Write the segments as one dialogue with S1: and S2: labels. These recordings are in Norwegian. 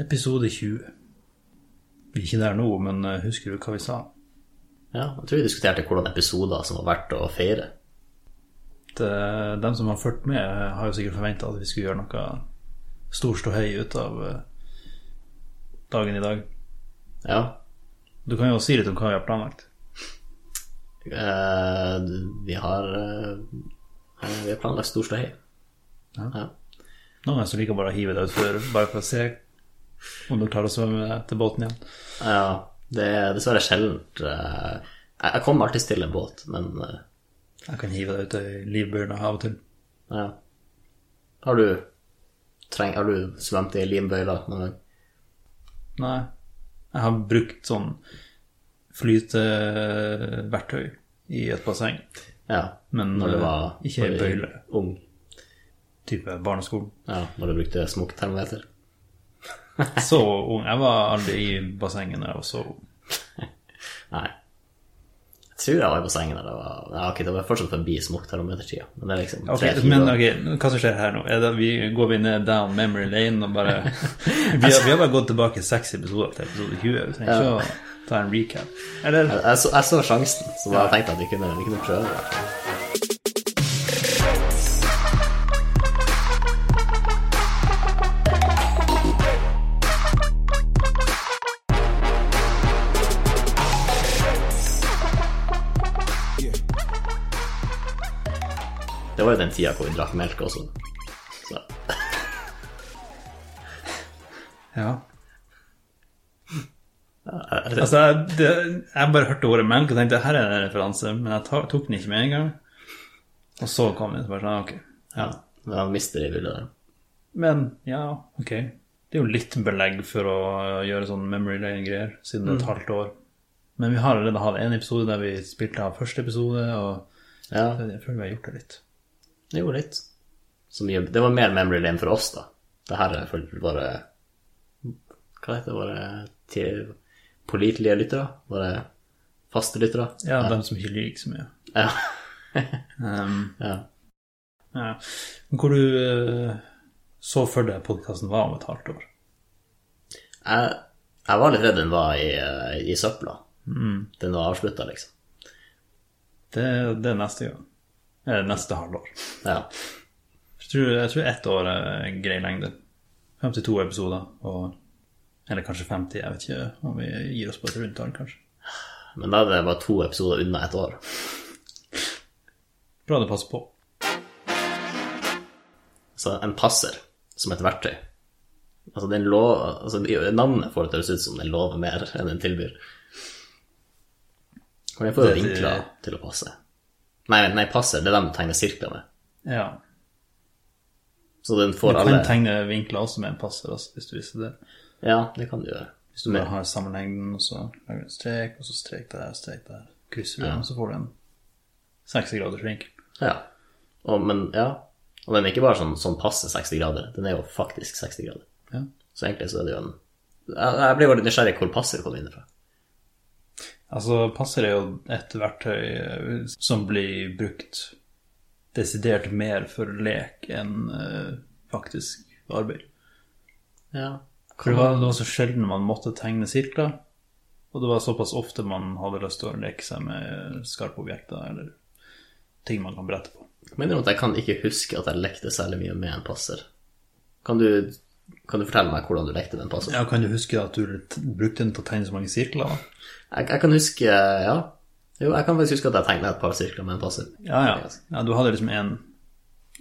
S1: Episode 20. Vi er ikke der nå, men eh, husker du hva vi sa?
S2: Ja, jeg tror vi diskuterte hvordan episoder som var verdt å feire.
S1: At eh, dem som har fulgt med, eh, har jo sikkert forventa at vi skulle gjøre noe stor ståhei ut av eh, dagen i dag.
S2: Ja.
S1: Du kan jo si litt om hva vi har planlagt.
S2: Eh, vi har eh, Vi har planlagt stor ståhei.
S1: Ja.
S2: Ja.
S1: Noen ganger så liker jeg bare å hive det utfor, bare for å se om dere klarer å svømme til båten igjen.
S2: ja. Det er dessverre sjeldent. eh, jeg, jeg kommer alltid til en båt, men eh,
S1: Jeg kan hive deg ut i livbøyla av og til.
S2: ja. Har du, treng, har du svømt i limbøyla noen gang?
S1: Nei. Jeg har brukt sånn flyteverktøy i et basseng.
S2: Ja.
S1: Men
S2: Når du
S1: eh,
S2: var
S1: ikke i
S2: når du-
S1: bøyle.
S2: Ung.
S1: Type barneskolen.
S2: Ja, når du brukte smokktermometer.
S1: Så ung. Jeg var aldri i bassenget da jeg var så ung.
S2: Nei. Jeg tror jeg var i bassenget da jeg var ja, ok, Det var fortsatt forbi smokktermometertida. Men det er liksom
S1: Ok,
S2: tre-fire
S1: men
S2: år.
S1: ok, hva som skjer her nå? Er det, vi, går vi ned down memory lane og bare Vi har, vi har bare gått tilbake seks episoder til episode 20. Vi trenger ikke å ta en recap. Eller
S2: Jeg, jeg, så, jeg så sjansen, så da tenkte jeg at vi kunne, vi kunne prøve. det. Det var jo den tida hvor vi drakk melk også. Så,
S1: Ja.
S2: jeg, jeg,
S1: Altså, jeg, det, jeg bare hørte ordet melk og tenkte her er det en referanse, men jeg ta, tok den ikke med en gang. Og så kom den. Så bare sånn, ok.
S2: ja, det var mister i bildet der.
S1: Men ja, ok. Det er jo litt belegg for å gjøre sånn memory lane-greier, siden det er et halvt år. Men vi har allerede hatt en episode der vi spilte av første episode, og
S2: Ja,
S1: jeg føler vi har gjort det litt.
S2: det gjorde litt. Så mye, det var mer memory lane for oss, da. Det her er for våre Hva heter det, våre ti- pålitelige lyttere? Våre faste lyttere?
S1: Ja, dem som ikke liker så mye.
S2: Ja.
S1: Um,
S2: ja.
S1: ja. Men Hvor du eh, så for deg podkasten var om et halvt år?
S2: Jeg, jeg var litt redd den var i, eh, i søpla.
S1: Mm.
S2: Den var avslutta, liksom.
S1: Det, det er neste gang. Eller neste halvår.
S2: Ja.
S1: Jeg tror, jeg tror ett år er en grei lengde. 52 episoder. Og, eller kanskje 50, jeg vet ikke om vi gir oss på et rundt tall, kanskje.
S2: Men da er det bare to episoder unna ett år.
S1: Bra det passer på.
S2: Altså en passer som et verktøy. Altså, den lov, altså navnet får det til å høres ut som den lover mer enn den tilbyr. For den får jo
S1: Det- det-
S2: vinkler til å passe. Nei, vent, nei, passer, det er dem du tegner sirkler med.
S1: Ja.
S2: Så den
S1: Du
S2: får alle
S1: kan tegne vinkler også med en passer, altså, hvis du viser det.
S2: Ja, det kan du gjøre.
S1: Hvis du bare har sammenhengen, og så lager du en strek, og så strek der, strek der. Krysser du den, så får du en 60 graders vinkel.
S2: Ja. Og, men, ja. Og den er ikke bare sånn, sånn passe 60 grader, den er jo faktisk 60 grader.
S1: Ja.
S2: Så egentlig så er det jo en Jeg, jeg ble jo litt nysgjerrig hvor passer kom inn fra.
S1: Altså, passer er jo et verktøy eh, som blir brukt desidert mer for lek enn eh, faktisk arbeid.
S2: Ja.
S1: For det var, det var så sjelden man måtte tegne sirkler, og det var såpass ofte man hadde lyst til å leke seg med skarpe objekter eller ting man kan brette på.
S2: Men jeg, jeg kan ikke huske at jeg lekte særlig mye med en passer. Kan du, kan du fortelle meg hvordan du lekte med en passer?
S1: Ja, Kan du huske at du t- brukte den til å tegne så mange sirkler? da?
S2: Jeg, jeg kan huske Ja. Jo, jeg kan faktisk huske at jeg tegna et par sirkler med en passer.
S1: Ja, ja. ja du hadde liksom en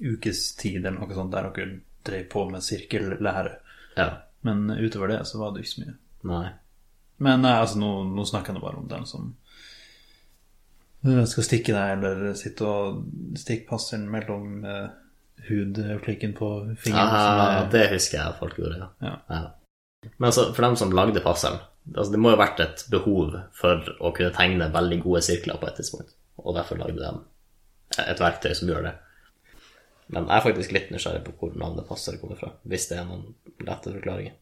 S1: ukes tid eller noe sånt der dere drev på med sirkellære.
S2: Ja.
S1: Men eh, utover det så var det ikke så mye.
S2: Nei.
S1: Men nei, altså, nå, nå snakker jeg nå bare om dem som øh, skal stikke deg, eller sitte og stikke passeren mellom eh, hudklikken på fingeren.
S2: Ah,
S1: som er-
S2: det husker jeg at folk gjorde, ja.
S1: Ja.
S2: Men altså, for dem som lagde passeren altså, Det må jo ha vært et behov for å kunne tegne veldig gode sirkler på et tidspunkt, og derfor lagde de et verktøy som gjør det. Men jeg er faktisk litt nysgjerrig på hvor navnet passer kommer fra, hvis det er noen lette forklaringer.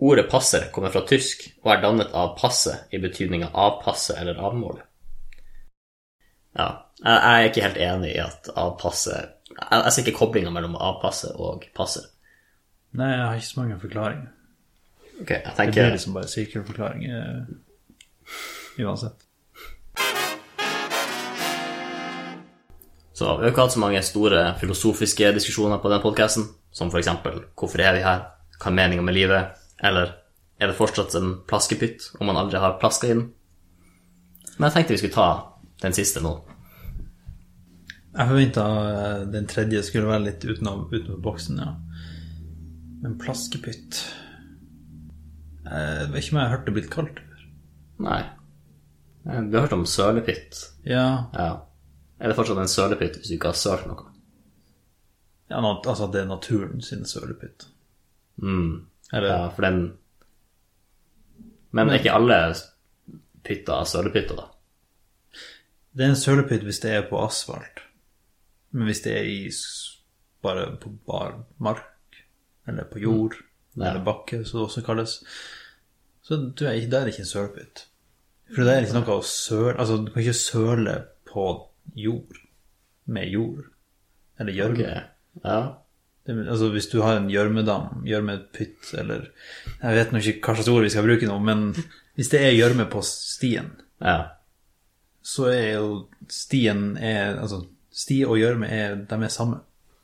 S2: Ordet passer kommer fra tysk og er dannet av passe i betydninga avpasse eller avmål. Ja, jeg jeg er ikke helt enig i at avpasse Jeg, jeg ser ikke koblinga mellom avpasse og passer.
S1: Nei, jeg har ikke så mange forklaringer.
S2: Ok, jeg
S1: Det blir
S2: tenker
S1: liksom bare sirkelforklaring eh, uansett.
S2: Så vi har ikke hatt så mange store filosofiske diskusjoner på den podkasten, som f.eks.: Hvorfor er vi her? Hva er meninga med livet? Eller er det fortsatt en plaskepytt om man aldri har plaska i den? Men jeg tenkte vi skulle ta den siste nå.
S1: Jeg forventa den tredje skulle være litt utenom, utenfor boksen, ja. Men plaskepytt eh, Det var ikke noe jeg hørte blitt kalt før.
S2: Nei. Eh, Vi har hørt om sølepytt.
S1: Ja,
S2: Ja. Er det fortsatt en sølepytt hvis du ikke har sølt noe?
S1: ja nå- altså det er naturen sin sølepytt.
S2: Mm.
S1: Eller
S2: Ja, for den Men er ikke alle pytter sølepytter, da?
S1: Det er en sølepytt hvis det er på asfalt. Men hvis det er i s- bare på bar mark, eller på jord,
S2: Mm. Ja.
S1: eller bakke, som det også kalles, så tror jeg ikke, da er det ikke en sølepytt. For det er ikke noe å søle Altså, du kan ikke søle på jord med jord. Eller gjørme.
S2: Ok. Ja.
S1: Det, vil- altså hvis du har en gjørmedam, gjørmepytt eller Jeg vet nå ikke hva slags ord vi skal bruke nå, men hvis det er gjørme på stien,
S2: ja.
S1: så er jo stien er, Altså, sti og gjørme er, de er samme.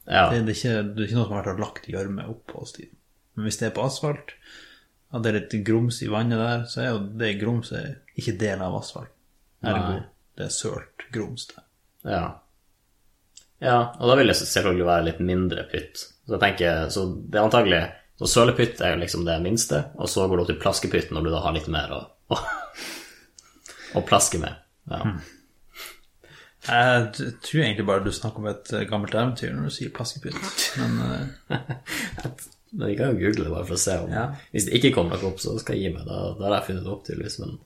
S2: ja.
S1: Det, det, er ikke, det er ikke noe som har vært og lagt gjørme oppå stien. Men hvis det er på asfalt, og det er litt grums i vannet der, så er jo det grumset ikke del av asfalt. Ergo
S2: Nei.
S1: det er sølt grums der.
S2: Ja. ja, og da vil det selvfølgelig være litt mindre pytt. Så jeg tenker, så det er antagelig Så sølepytt er jo liksom det minste, og så går du til plaskepytt når du da har litt mer å, å, å plaske med. Ja.
S1: Hmm. Jeg t- tror egentlig bare du snakker om et eh, gammelt eventyr når du sier plaskepytt, men eh,
S2: Men vi kan jo google det bare for å se om
S1: Ja.
S2: Hvis det ikke kommer noe opp, så skal jeg gi meg. Da, da har jeg funnet det opp, tydeligvis, men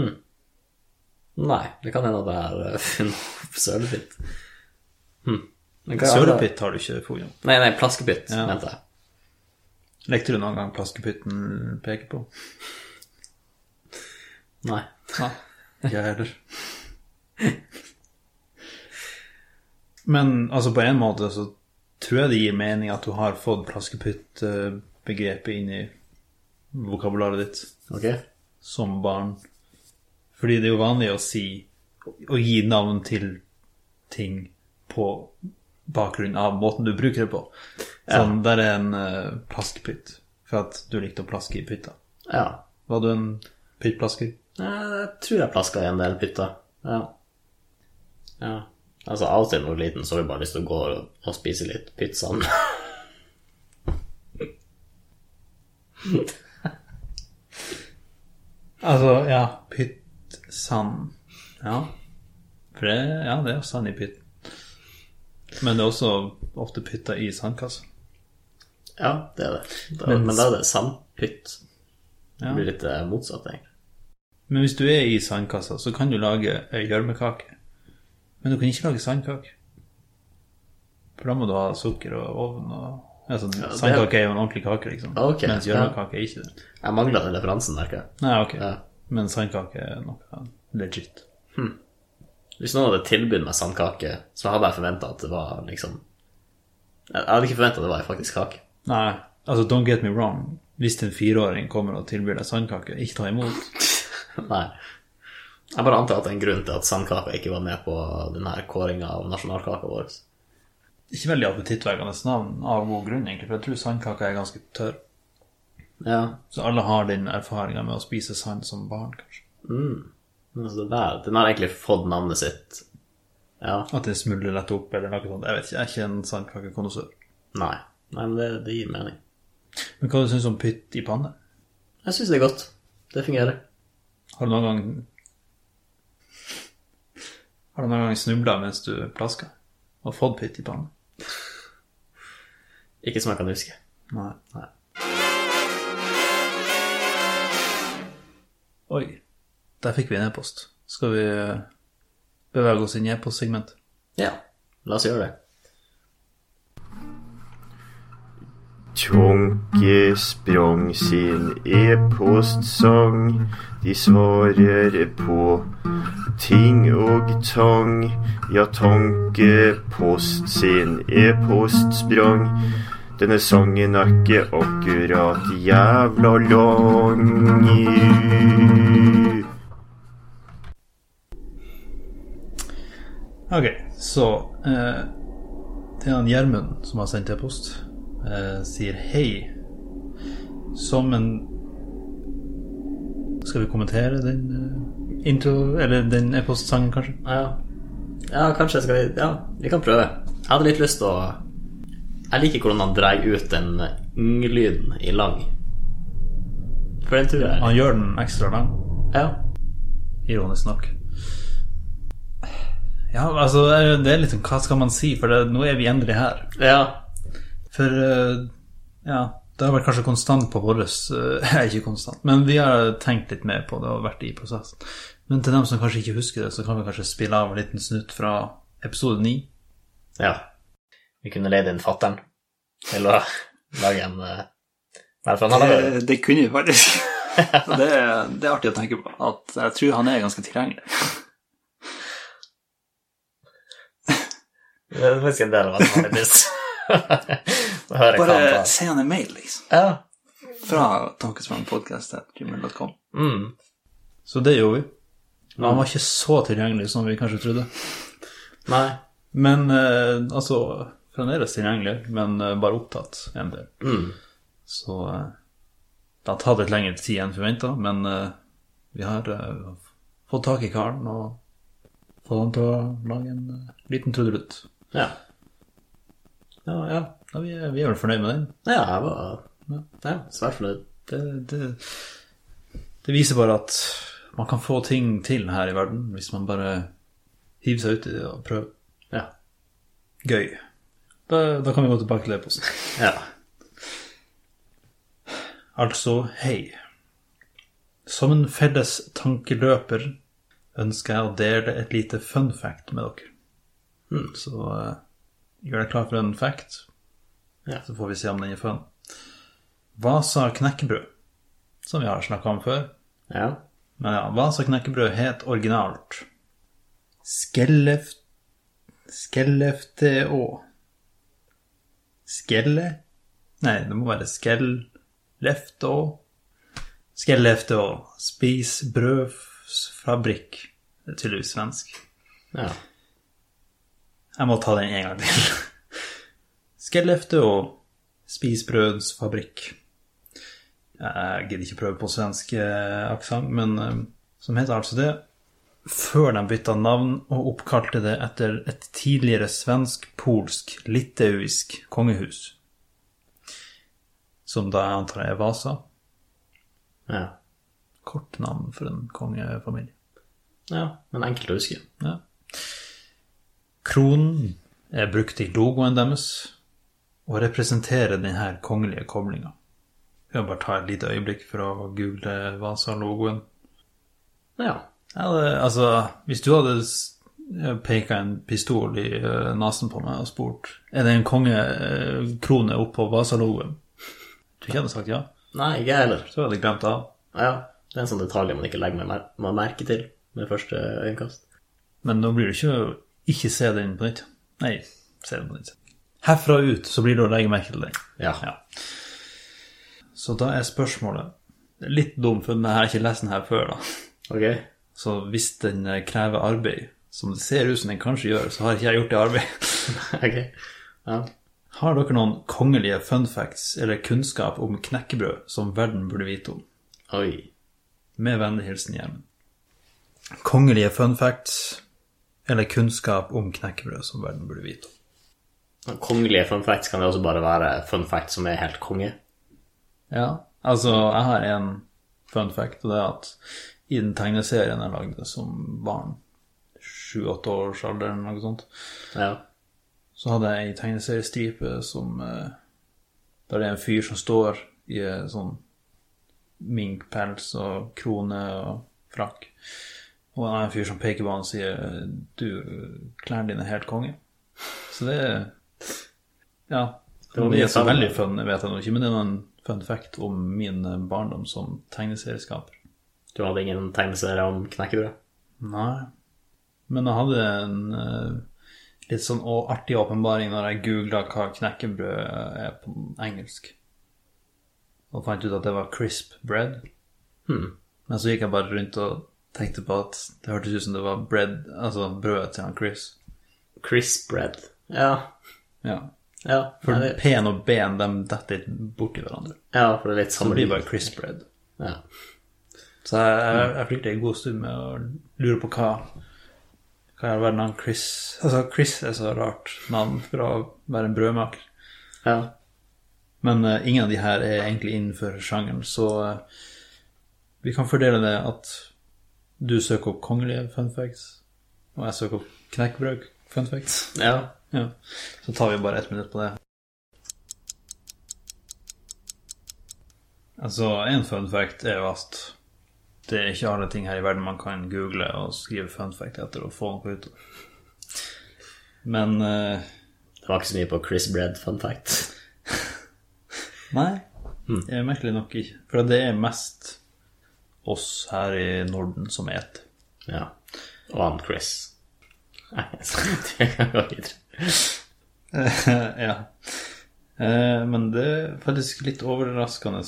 S2: hm. Nei, det kan hende at jeg har eh, funnet opp sølepytt. Hm. Men hva er det-
S1: sølepytt har du ikke funnet.
S2: Nei, nei, plaskepytt, mente jeg.
S1: Lekte du noen gang plaskepytten peker på?
S2: Nei.
S1: Nei, ikke jeg heller. Men altså, på en måte så tror jeg det gir mening at du har fått plaskepytt-begrepet inn i vokabularet ditt
S2: Ok.
S1: som barn. Fordi det er jo vanlig å si Å gi navn til ting på bakgrunn av måten du bruker det på. Sånn, der er en eh, plaskepytt. For at du likte å plaske i pytta.
S2: Ja.
S1: Var du en pyttplasker?
S2: Jeg tror jeg plaska i en del pytter. Ja. ja. Altså, av og til når jeg var liten, så har jeg bare lyst til å gå og og spise litt pytt sammen.
S1: Altså, ja, pyttsand. Ja. For det, ja, det er jo sand i pytten. Men det er også ofte pytta i sandkassa.
S2: ja, det er det. Da,
S1: Men-
S2: men, da er det sandpytt.
S1: Ja.
S2: Det blir litt eh, motsatt, egentlig.
S1: Men hvis du er i sandkassa, så kan du lage ei gjørmekake. Men du kan ikke lage sandkake. For da må du ha sukker og ovn og Altså, sandkake er jo en ordentlig kake, liksom.
S2: Ah, Ok,
S1: Mens
S2: ja.
S1: gjørmekake er ikke det.
S2: Jeg mangla den referansen, merker jeg.
S1: Nei, ok.
S2: Ja.
S1: Men sandkake er noe legit.
S2: Hvis noen hadde tilbudt meg sandkake, så hadde jeg forventa at det var liksom Jeg jeg hadde ikke forventa det var faktisk kake.
S1: Nei, altså don't get me wrong. Hvis en fireåring kommer og tilbyr deg sandkake, ikke ta imot.
S2: Nei. Jeg bare antar at det er en grunn til at sandkaka ikke var med på denne kåringa av nasjonalkaka vår.
S1: Ikke veldig appetittvekkende navn, av god grunn, egentlig, for jeg tror sandkake er ganske tørr.
S2: Ja,
S1: Så alle har den erfaringa med å spise sand som barn, kanskje.
S2: Men Altså, det der, den har egentlig fått navnet sitt. Ja.
S1: At det smuldrer lett opp, eller noe sånt. Jeg vet ikke, jeg er ikke en sandkakekondisør.
S2: Nei. Nei, men det, det gir mening.
S1: Men hva syns du om pytt i panne?
S2: Jeg syns det er godt. Det fungerer.
S1: Har du noen gang Har du noen gang snubla mens du plaska? Og fått pytt i panne?
S2: Ikke som jeg kan huske.
S1: Nei.
S2: Nei.
S1: Oi, der fikk vi en e-post. Skal vi eh, bevege oss inn i e-postsegmentet?
S2: Ja, la oss gjøre det.
S3: Tjonke sprang sin e-postsang. De svarer på ting og tang. Ja, Tankepost sin e-post sprang. Denne sangen er ikke akkurat jævla lang.
S1: Ok, så eh, det er han Gjermund som har sendt e-post. Eh, sier hei. Som en Skal vi kommentere den eh, intro Eller den e-postsangen, kanskje?
S2: Ja, ja kanskje skal vi Ja, vi kan prøve. Jeg hadde litt lyst til å Jeg liker hvordan han drar ut den ng-lyden i lang. For den tror jeg
S1: Han gjør den ekstra lang.
S2: Ja.
S1: Ironisk nok. Ja, altså, det er liksom Hva skal man si? For det, nå er vi endelig her.
S2: ja.
S1: For eh, ja, det har vært kanskje konstant på våres eh, Ikke konstant, men vi har tenkt litt mer på det og vært i prosessen. Men til dem som kanskje ikke husker det, så kan vi kanskje spille av en liten snutt fra episode 9.
S2: Ja. Vi kunne leid inn fattern til å lage en eh, Nei, for han har laget
S4: Det, det kunne vi faktisk. Og det, det er artig å tenke på. At jeg tror han er ganske tilgjengelig.
S2: Det er faktisk en del av at han er buss. Så hører jeg hva han
S4: Bare
S2: tar.
S4: send han en mail, liksom.
S2: Ja.
S4: Fra tankesmannpodkast.gmail.com.
S2: Mm.
S1: Så det gjorde vi. Men han var ikke så tilgjengelig som vi kanskje trodde.
S2: Nei.
S1: Men eh, altså Fremdeles tilgjengelig, men eh, bare opptatt en del.
S2: Mm.
S1: Så eh, det har tatt litt lengre tid enn forventa, men eh, vi har eh, fått tak i karen og fått han til å lage en eh, liten trudelutt.
S2: Ja. Ja, ja.
S1: Ja, vi, er, vi er vel fornøyd med den.
S2: Ja, jeg var ja, svært fornøyd.
S1: Det, det, det viser bare at man kan få ting til her i verden hvis man bare hiver seg uti det og prøver.
S2: Ja.
S1: Gøy. Da, da kan vi gå tilbake til det posten.
S2: ja.
S1: Altså hei. Som en felles tankeløper ønsker jeg å dele et lite fun fact med dere. Så eh, gjør deg klar for en fact,
S2: Ja.
S1: så får vi se om den er fun. Hva sa knekkebrød? Som vi har snakka om før.
S2: ja.
S1: Men ja, hva sa knekkebrød het originalt? Skellef... Skellefteå. Skelle... Nei, det må være Skellefteå. Skellefteå. Spisbrødsfabrikk. Det er tydeligvis svensk.
S2: ja.
S1: Jeg må ta den en gang til. Skellefteå spisbrødsfabrikk. Jeg gidder ikke prøve på svensk eh, aksent, men eh, som heter altså det. Før de bytta navn og oppkalte det etter et tidligere svensk-polsk-litauisk kongehus. Som da jeg antar er Vasa.
S2: ja.
S1: Kort navn for en kongefamilie.
S2: ja. Men enkelt å huske.
S1: Ja. Kronen er brukt i logoen deres og representerer denne kongelige koblinga. Vi må bare ta et lite øyeblikk for å google Vasa-logoen.
S2: Ja.
S1: Ja, det, altså, hvis du hadde s- peket en pistol i eh, nesen på meg og spurt er det en eh, kongekrone oppå Vasa-logoen, tror ikke jeg hadde sagt ja.
S2: Nei, ikke jeg heller.
S1: Så hadde jeg glemt det av.
S2: Ja. Det er en sånn detalj man ikke legger mer- mer- man merke til med første øyekast.
S1: Men nå blir det ikke å ikke se den på nytt. Nei, se den på nytt. Herfra og ut så blir det å legge merke til den.
S2: Ja.
S1: Ja. Så da er spørsmålet Litt dum, for jeg har ikke lest den her før, da.
S2: Ok.
S1: Så hvis den eh, krever arbeid, som det ser ut som den kanskje gjør, så har ikke jeg gjort det arbeidet.
S2: ok. Ja.
S1: Har dere noen kongelige fun facts eller kunnskap om knekkebrød som verden burde vite om?
S2: Oi.
S1: Med vennlig hilsen Gjermund. Kongelige fun facts eller kunnskap om knekkebrød som verden burde vite om?
S2: Kongelige fun facts kan det også bare være fun facts som er helt konge.
S1: Ja, altså jeg har en fun fact, og det er at i den tegneserien jeg lagde som barn, sju-åtte års alder eller noe sånt,
S2: Ja.
S1: så hadde jeg ei tegneseriestripe som eh, Der det er en fyr som står i eh, sånn minkpels og krone og frakk. Og han er en fyr som peker på han og sier Du, klærne dine er helt konge. Så det er Ja. Det,
S2: var
S1: det
S2: mye
S1: er så
S2: fun.
S1: veldig fun, vet jeg nå ikke, men det er en fun fact om min eh, barndom som tegneserieskaper.
S2: Du hadde ingen tegneserie om knekkebrød?
S1: Nei. Men jeg hadde en eh, litt sånn å- artig åpenbaring når jeg googla hva knekkebrød er på engelsk. Og fant ut at det var crisp bread.
S2: Hmm.
S1: Men så gikk jeg bare rundt og tenkte på at det hørtes ut som det var bread, altså brødet til han Chris.
S2: Crisp bread. Ja.
S1: Ja.
S2: Ja.
S1: For
S2: Nei, det,
S1: P-en og B-en de detter litt borti hverandre.
S2: ja, for det er litt
S1: Så det
S2: samme
S1: blir
S2: lyd.
S1: bare crisp bread.
S2: Ja.
S1: Så jeg, jeg, jeg brukte en god stund med å lure på hva Hva i all verden han Chris Altså, Chris er så rart navn for å være en brødmaker.
S2: ja.
S1: Men eh, ingen av de her er egentlig innenfor sjangeren, så eh, vi kan fordele det at du søker opp kongelige fun facts, og jeg søker opp knekkebrød fun facts.
S2: ja.
S1: Ja. Så tar vi bare ett minutt på det. Altså, en fun fact er jo at det er ikke alle ting her i verden man kan google og skrive fun fact etter og få noe ut av. Men eh,
S2: Det var ikke så mye på crisp bread, fun fact.
S1: Nei, det er merkelig nok ikke. For det er mest oss her i Norden som et.
S2: Ja. Og han Chris. Nei, så det kan gå videre.
S1: ja. Eh, men det er faktisk litt overraskende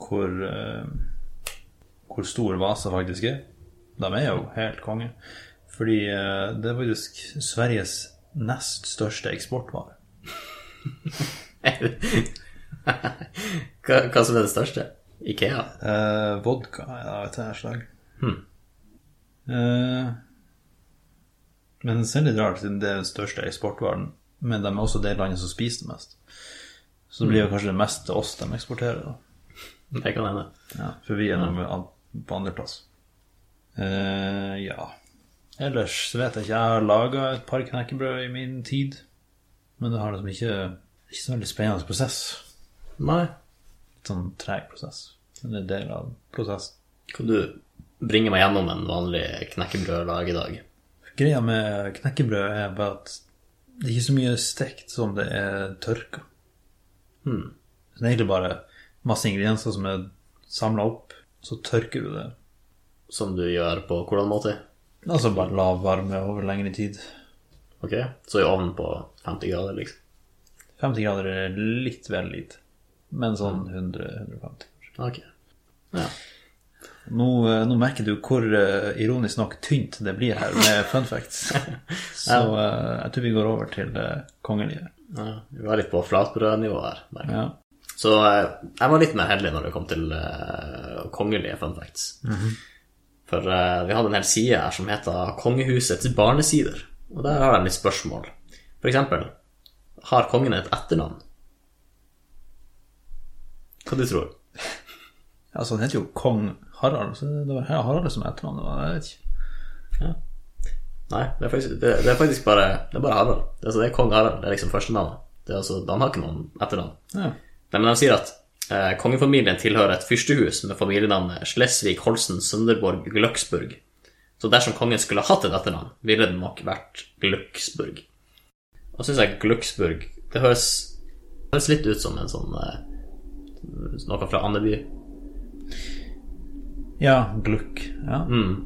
S1: hvor, eh, hvor stor Vasa faktisk er. De er jo helt konge. Fordi eh, det er faktisk Sveriges nest største eksportvare.
S2: Hva, hva som er det største? Ikea?
S1: Eh, vodka ja, av et eller annet slag. Eh, men det er litt rart, siden det er den største eksportvaren. Men de er også det landet som spiser det mest. Så det blir jo kanskje det mest til oss de eksporterer, da.
S2: Det kan hende.
S1: Ja, for vi er nå med an- på andreplass. Uh, ja. Ellers så vet jeg ikke. Jeg har laga et par knekkebrød i min tid. Men det har liksom ikke Ikke så veldig spennende prosess.
S2: Nei.
S1: Sånn treg prosess. Men det er del av prosessen.
S2: Kan du bringe meg gjennom en vanlig knekkebrøddag i dag?
S1: Greia med knekkebrød er bare at det er ikke så mye stekt som det er tørka. Hmm. Så det er egentlig bare masse ingredienser som er samla opp, så tørker du det.
S2: Som du gjør på hvordan måte?
S1: Altså bare lav varme over lengre tid.
S2: Ok, så i ovnen på 50 grader, liksom.
S1: 50 grader er litt vel lite, men sånn 100-150.
S2: Ok.
S1: Nå, eh, nå merker du hvor eh, ironisk nok tynt det blir her med fun facts. Så eh, jeg tror vi går over til det kongelige.
S2: Ja, vi var litt på flatbrødnivå her. merker jeg.
S1: Ja.
S2: Så eh, jeg var litt mer heldig når det kom til eh, kongelige fun facts. For eh, vi hadde en hel side her som heter Kongehusets barnesider. Og der har jeg litt spørsmål. For eksempel, har kongen et etternavn? Hva du tror
S1: Altså, han heter jo kong Harald, så det var her Harald som het han. det var- Jeg vet ikke.
S2: Nei, det er faktisk, det, det er faktisk bare, det er bare Harald. Det, er- så det er kong Harald. Det er liksom førstenavnet. Det er Altså, han har ikke noen etternavn.
S1: Ja.
S2: Nei, men de sier at eh, kongefamilien tilhører et fyrstehus med familienavnet Schleswig-Holsen-Sønderborg-Gløksburg. Så dersom kongen skulle hatt et etternavn, ville det nok vært Gløksburg. Og syns jeg Gløksburg Det høres, høres litt ut som en sånn eh, noe fra Andeby.
S1: ja, Gluck. Ja.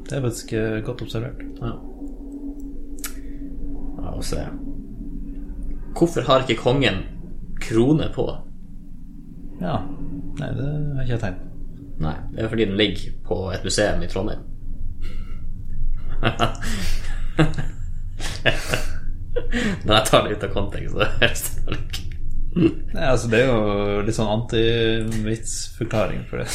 S1: Det er faktisk eh, godt observert.
S2: Ja. Ja, og se. Hvorfor har ikke kongen krone på?
S1: Ja. Nei, det har ikke jeg tenkt på.
S2: Nei, det er fordi den ligger på et museum i Trondheim. Når jeg tar det ut av kontekst, så høres det vel ikke
S1: Nei, altså, det er jo litt sånn antivitsforklaring for det.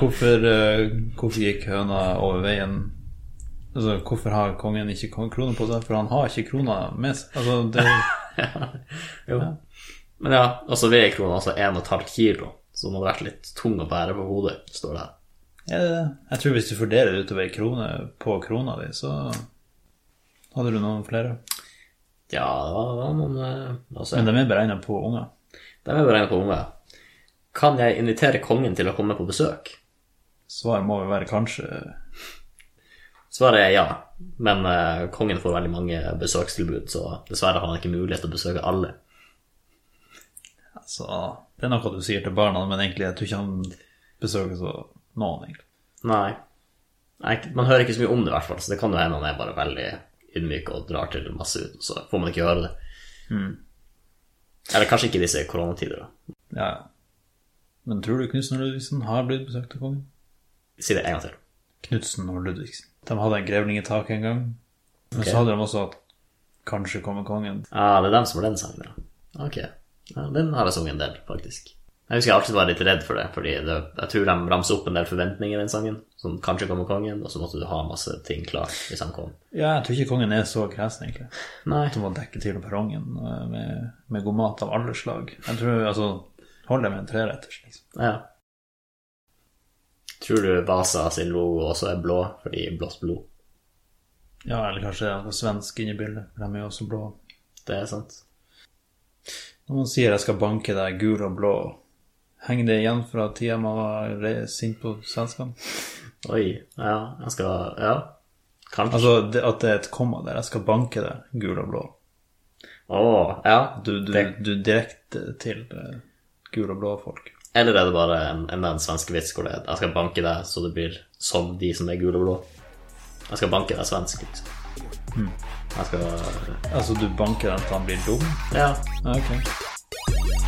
S1: Hvorfor, eh, hvorfor gikk høna over veien? Altså, hvorfor har kongen ikke kon- krona på seg? For han har ikke krona med seg. Altså, det,
S2: Jo. Men ja, altså V-krona, altså 1,5 kilo, så den hadde vært litt tung å bære på hodet, står det her.
S1: jeg, jeg tror hvis du fordeler det utover ei krone på krona di, så hadde du noen flere.
S2: Ja, det var, det var noen eh, altså,
S1: Men de er beregna på unger.
S2: De er beregnet på unger. Kan jeg invitere kongen til å komme på besøk?
S1: Svaret må jo være kanskje
S2: Svaret er ja, men eh, kongen får veldig mange besøkstilbud, så dessverre har han ikke mulighet til å besøke alle.
S1: altså, Det er noe du sier til barna, men egentlig jeg tror ikke han besøker så noen, egentlig.
S2: Nei. Nei. Man hører ikke så mye om det, i hvert fall, så det kan jo hende han er bare veldig ydmyk og drar til masse ut, så får man ikke høre det. Eller kanskje ikke i disse koronatider, da.
S1: Ja, ja. Men tror du Knutsen og Ludvigsen har blitt besøkt av kongen?
S2: Si det en gang til.
S1: Knutsen og Ludvigsen. De hadde en grevling i taket en gang. Men
S2: Ok.
S1: så hadde de også at kanskje kommer kongen.
S2: Ah, det er dem som har den sangen, ja. Ok. Ja, den har jeg sunget en del, faktisk. Jeg husker jeg alltid var litt redd for det, fordi det, jeg tror de ramset opp en del forventninger i den sangen, som kanskje kommer kongen, og så måtte du ha masse ting klart hvis han kom.
S1: Ja, jeg tror ikke kongen er så kresen, egentlig.
S2: Nei.
S1: At de må dekke til perrongen eh, med, med god mat av alle slag. Jeg tror, altså, holder det med en treretters, liksom.
S2: Ja. Tror du Vasa sin logo også er blå, fordi blått blod?
S1: Ja, eller kanskje det er noe svensk inni bildet, for de er jo også blå.
S2: Det er sant.
S1: Når man sier 'jeg skal banke deg gul og blå', henger det igjen fra tida man var re- sint på svenskene?
S2: Oi, ja, jeg skal, ja. Kanskje.
S1: Altså det, at det er et komma der. 'Jeg skal banke deg gul og blå'.
S2: Åh, ja.
S1: Du, du,
S2: Det-
S1: du direkte til eh, gul og blå folk.
S2: Eller er det bare en, en, en svensk vits hvor det er, jeg skal banke deg så det blir som de som er gule og blå? Jeg skal banke deg svensk, liksom. Jeg skal
S1: Altså du banker den til han blir dum?
S2: Ja.
S1: Ja, ok.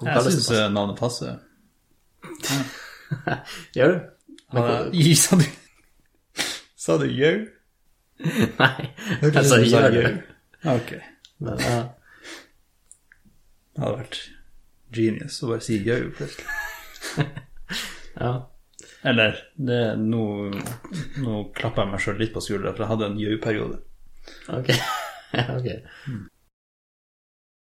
S2: Hvor
S1: Jeg
S2: kalles det
S1: syns navnet passer.
S2: på- Gjør du? Men
S1: Han
S2: hvor-
S1: er- Gi, Sa du Sa du jau? Altså,
S2: Nei, jeg sa gjør du?
S1: Ok.
S2: Men, ja.
S1: Det hadde vært genius å bare si jau plutselig.
S2: ja.
S1: Eller det, nå, nå klapper jeg meg sjøl litt på skuldra, for jeg hadde en jau-periode.
S2: Ok. Ja, ok.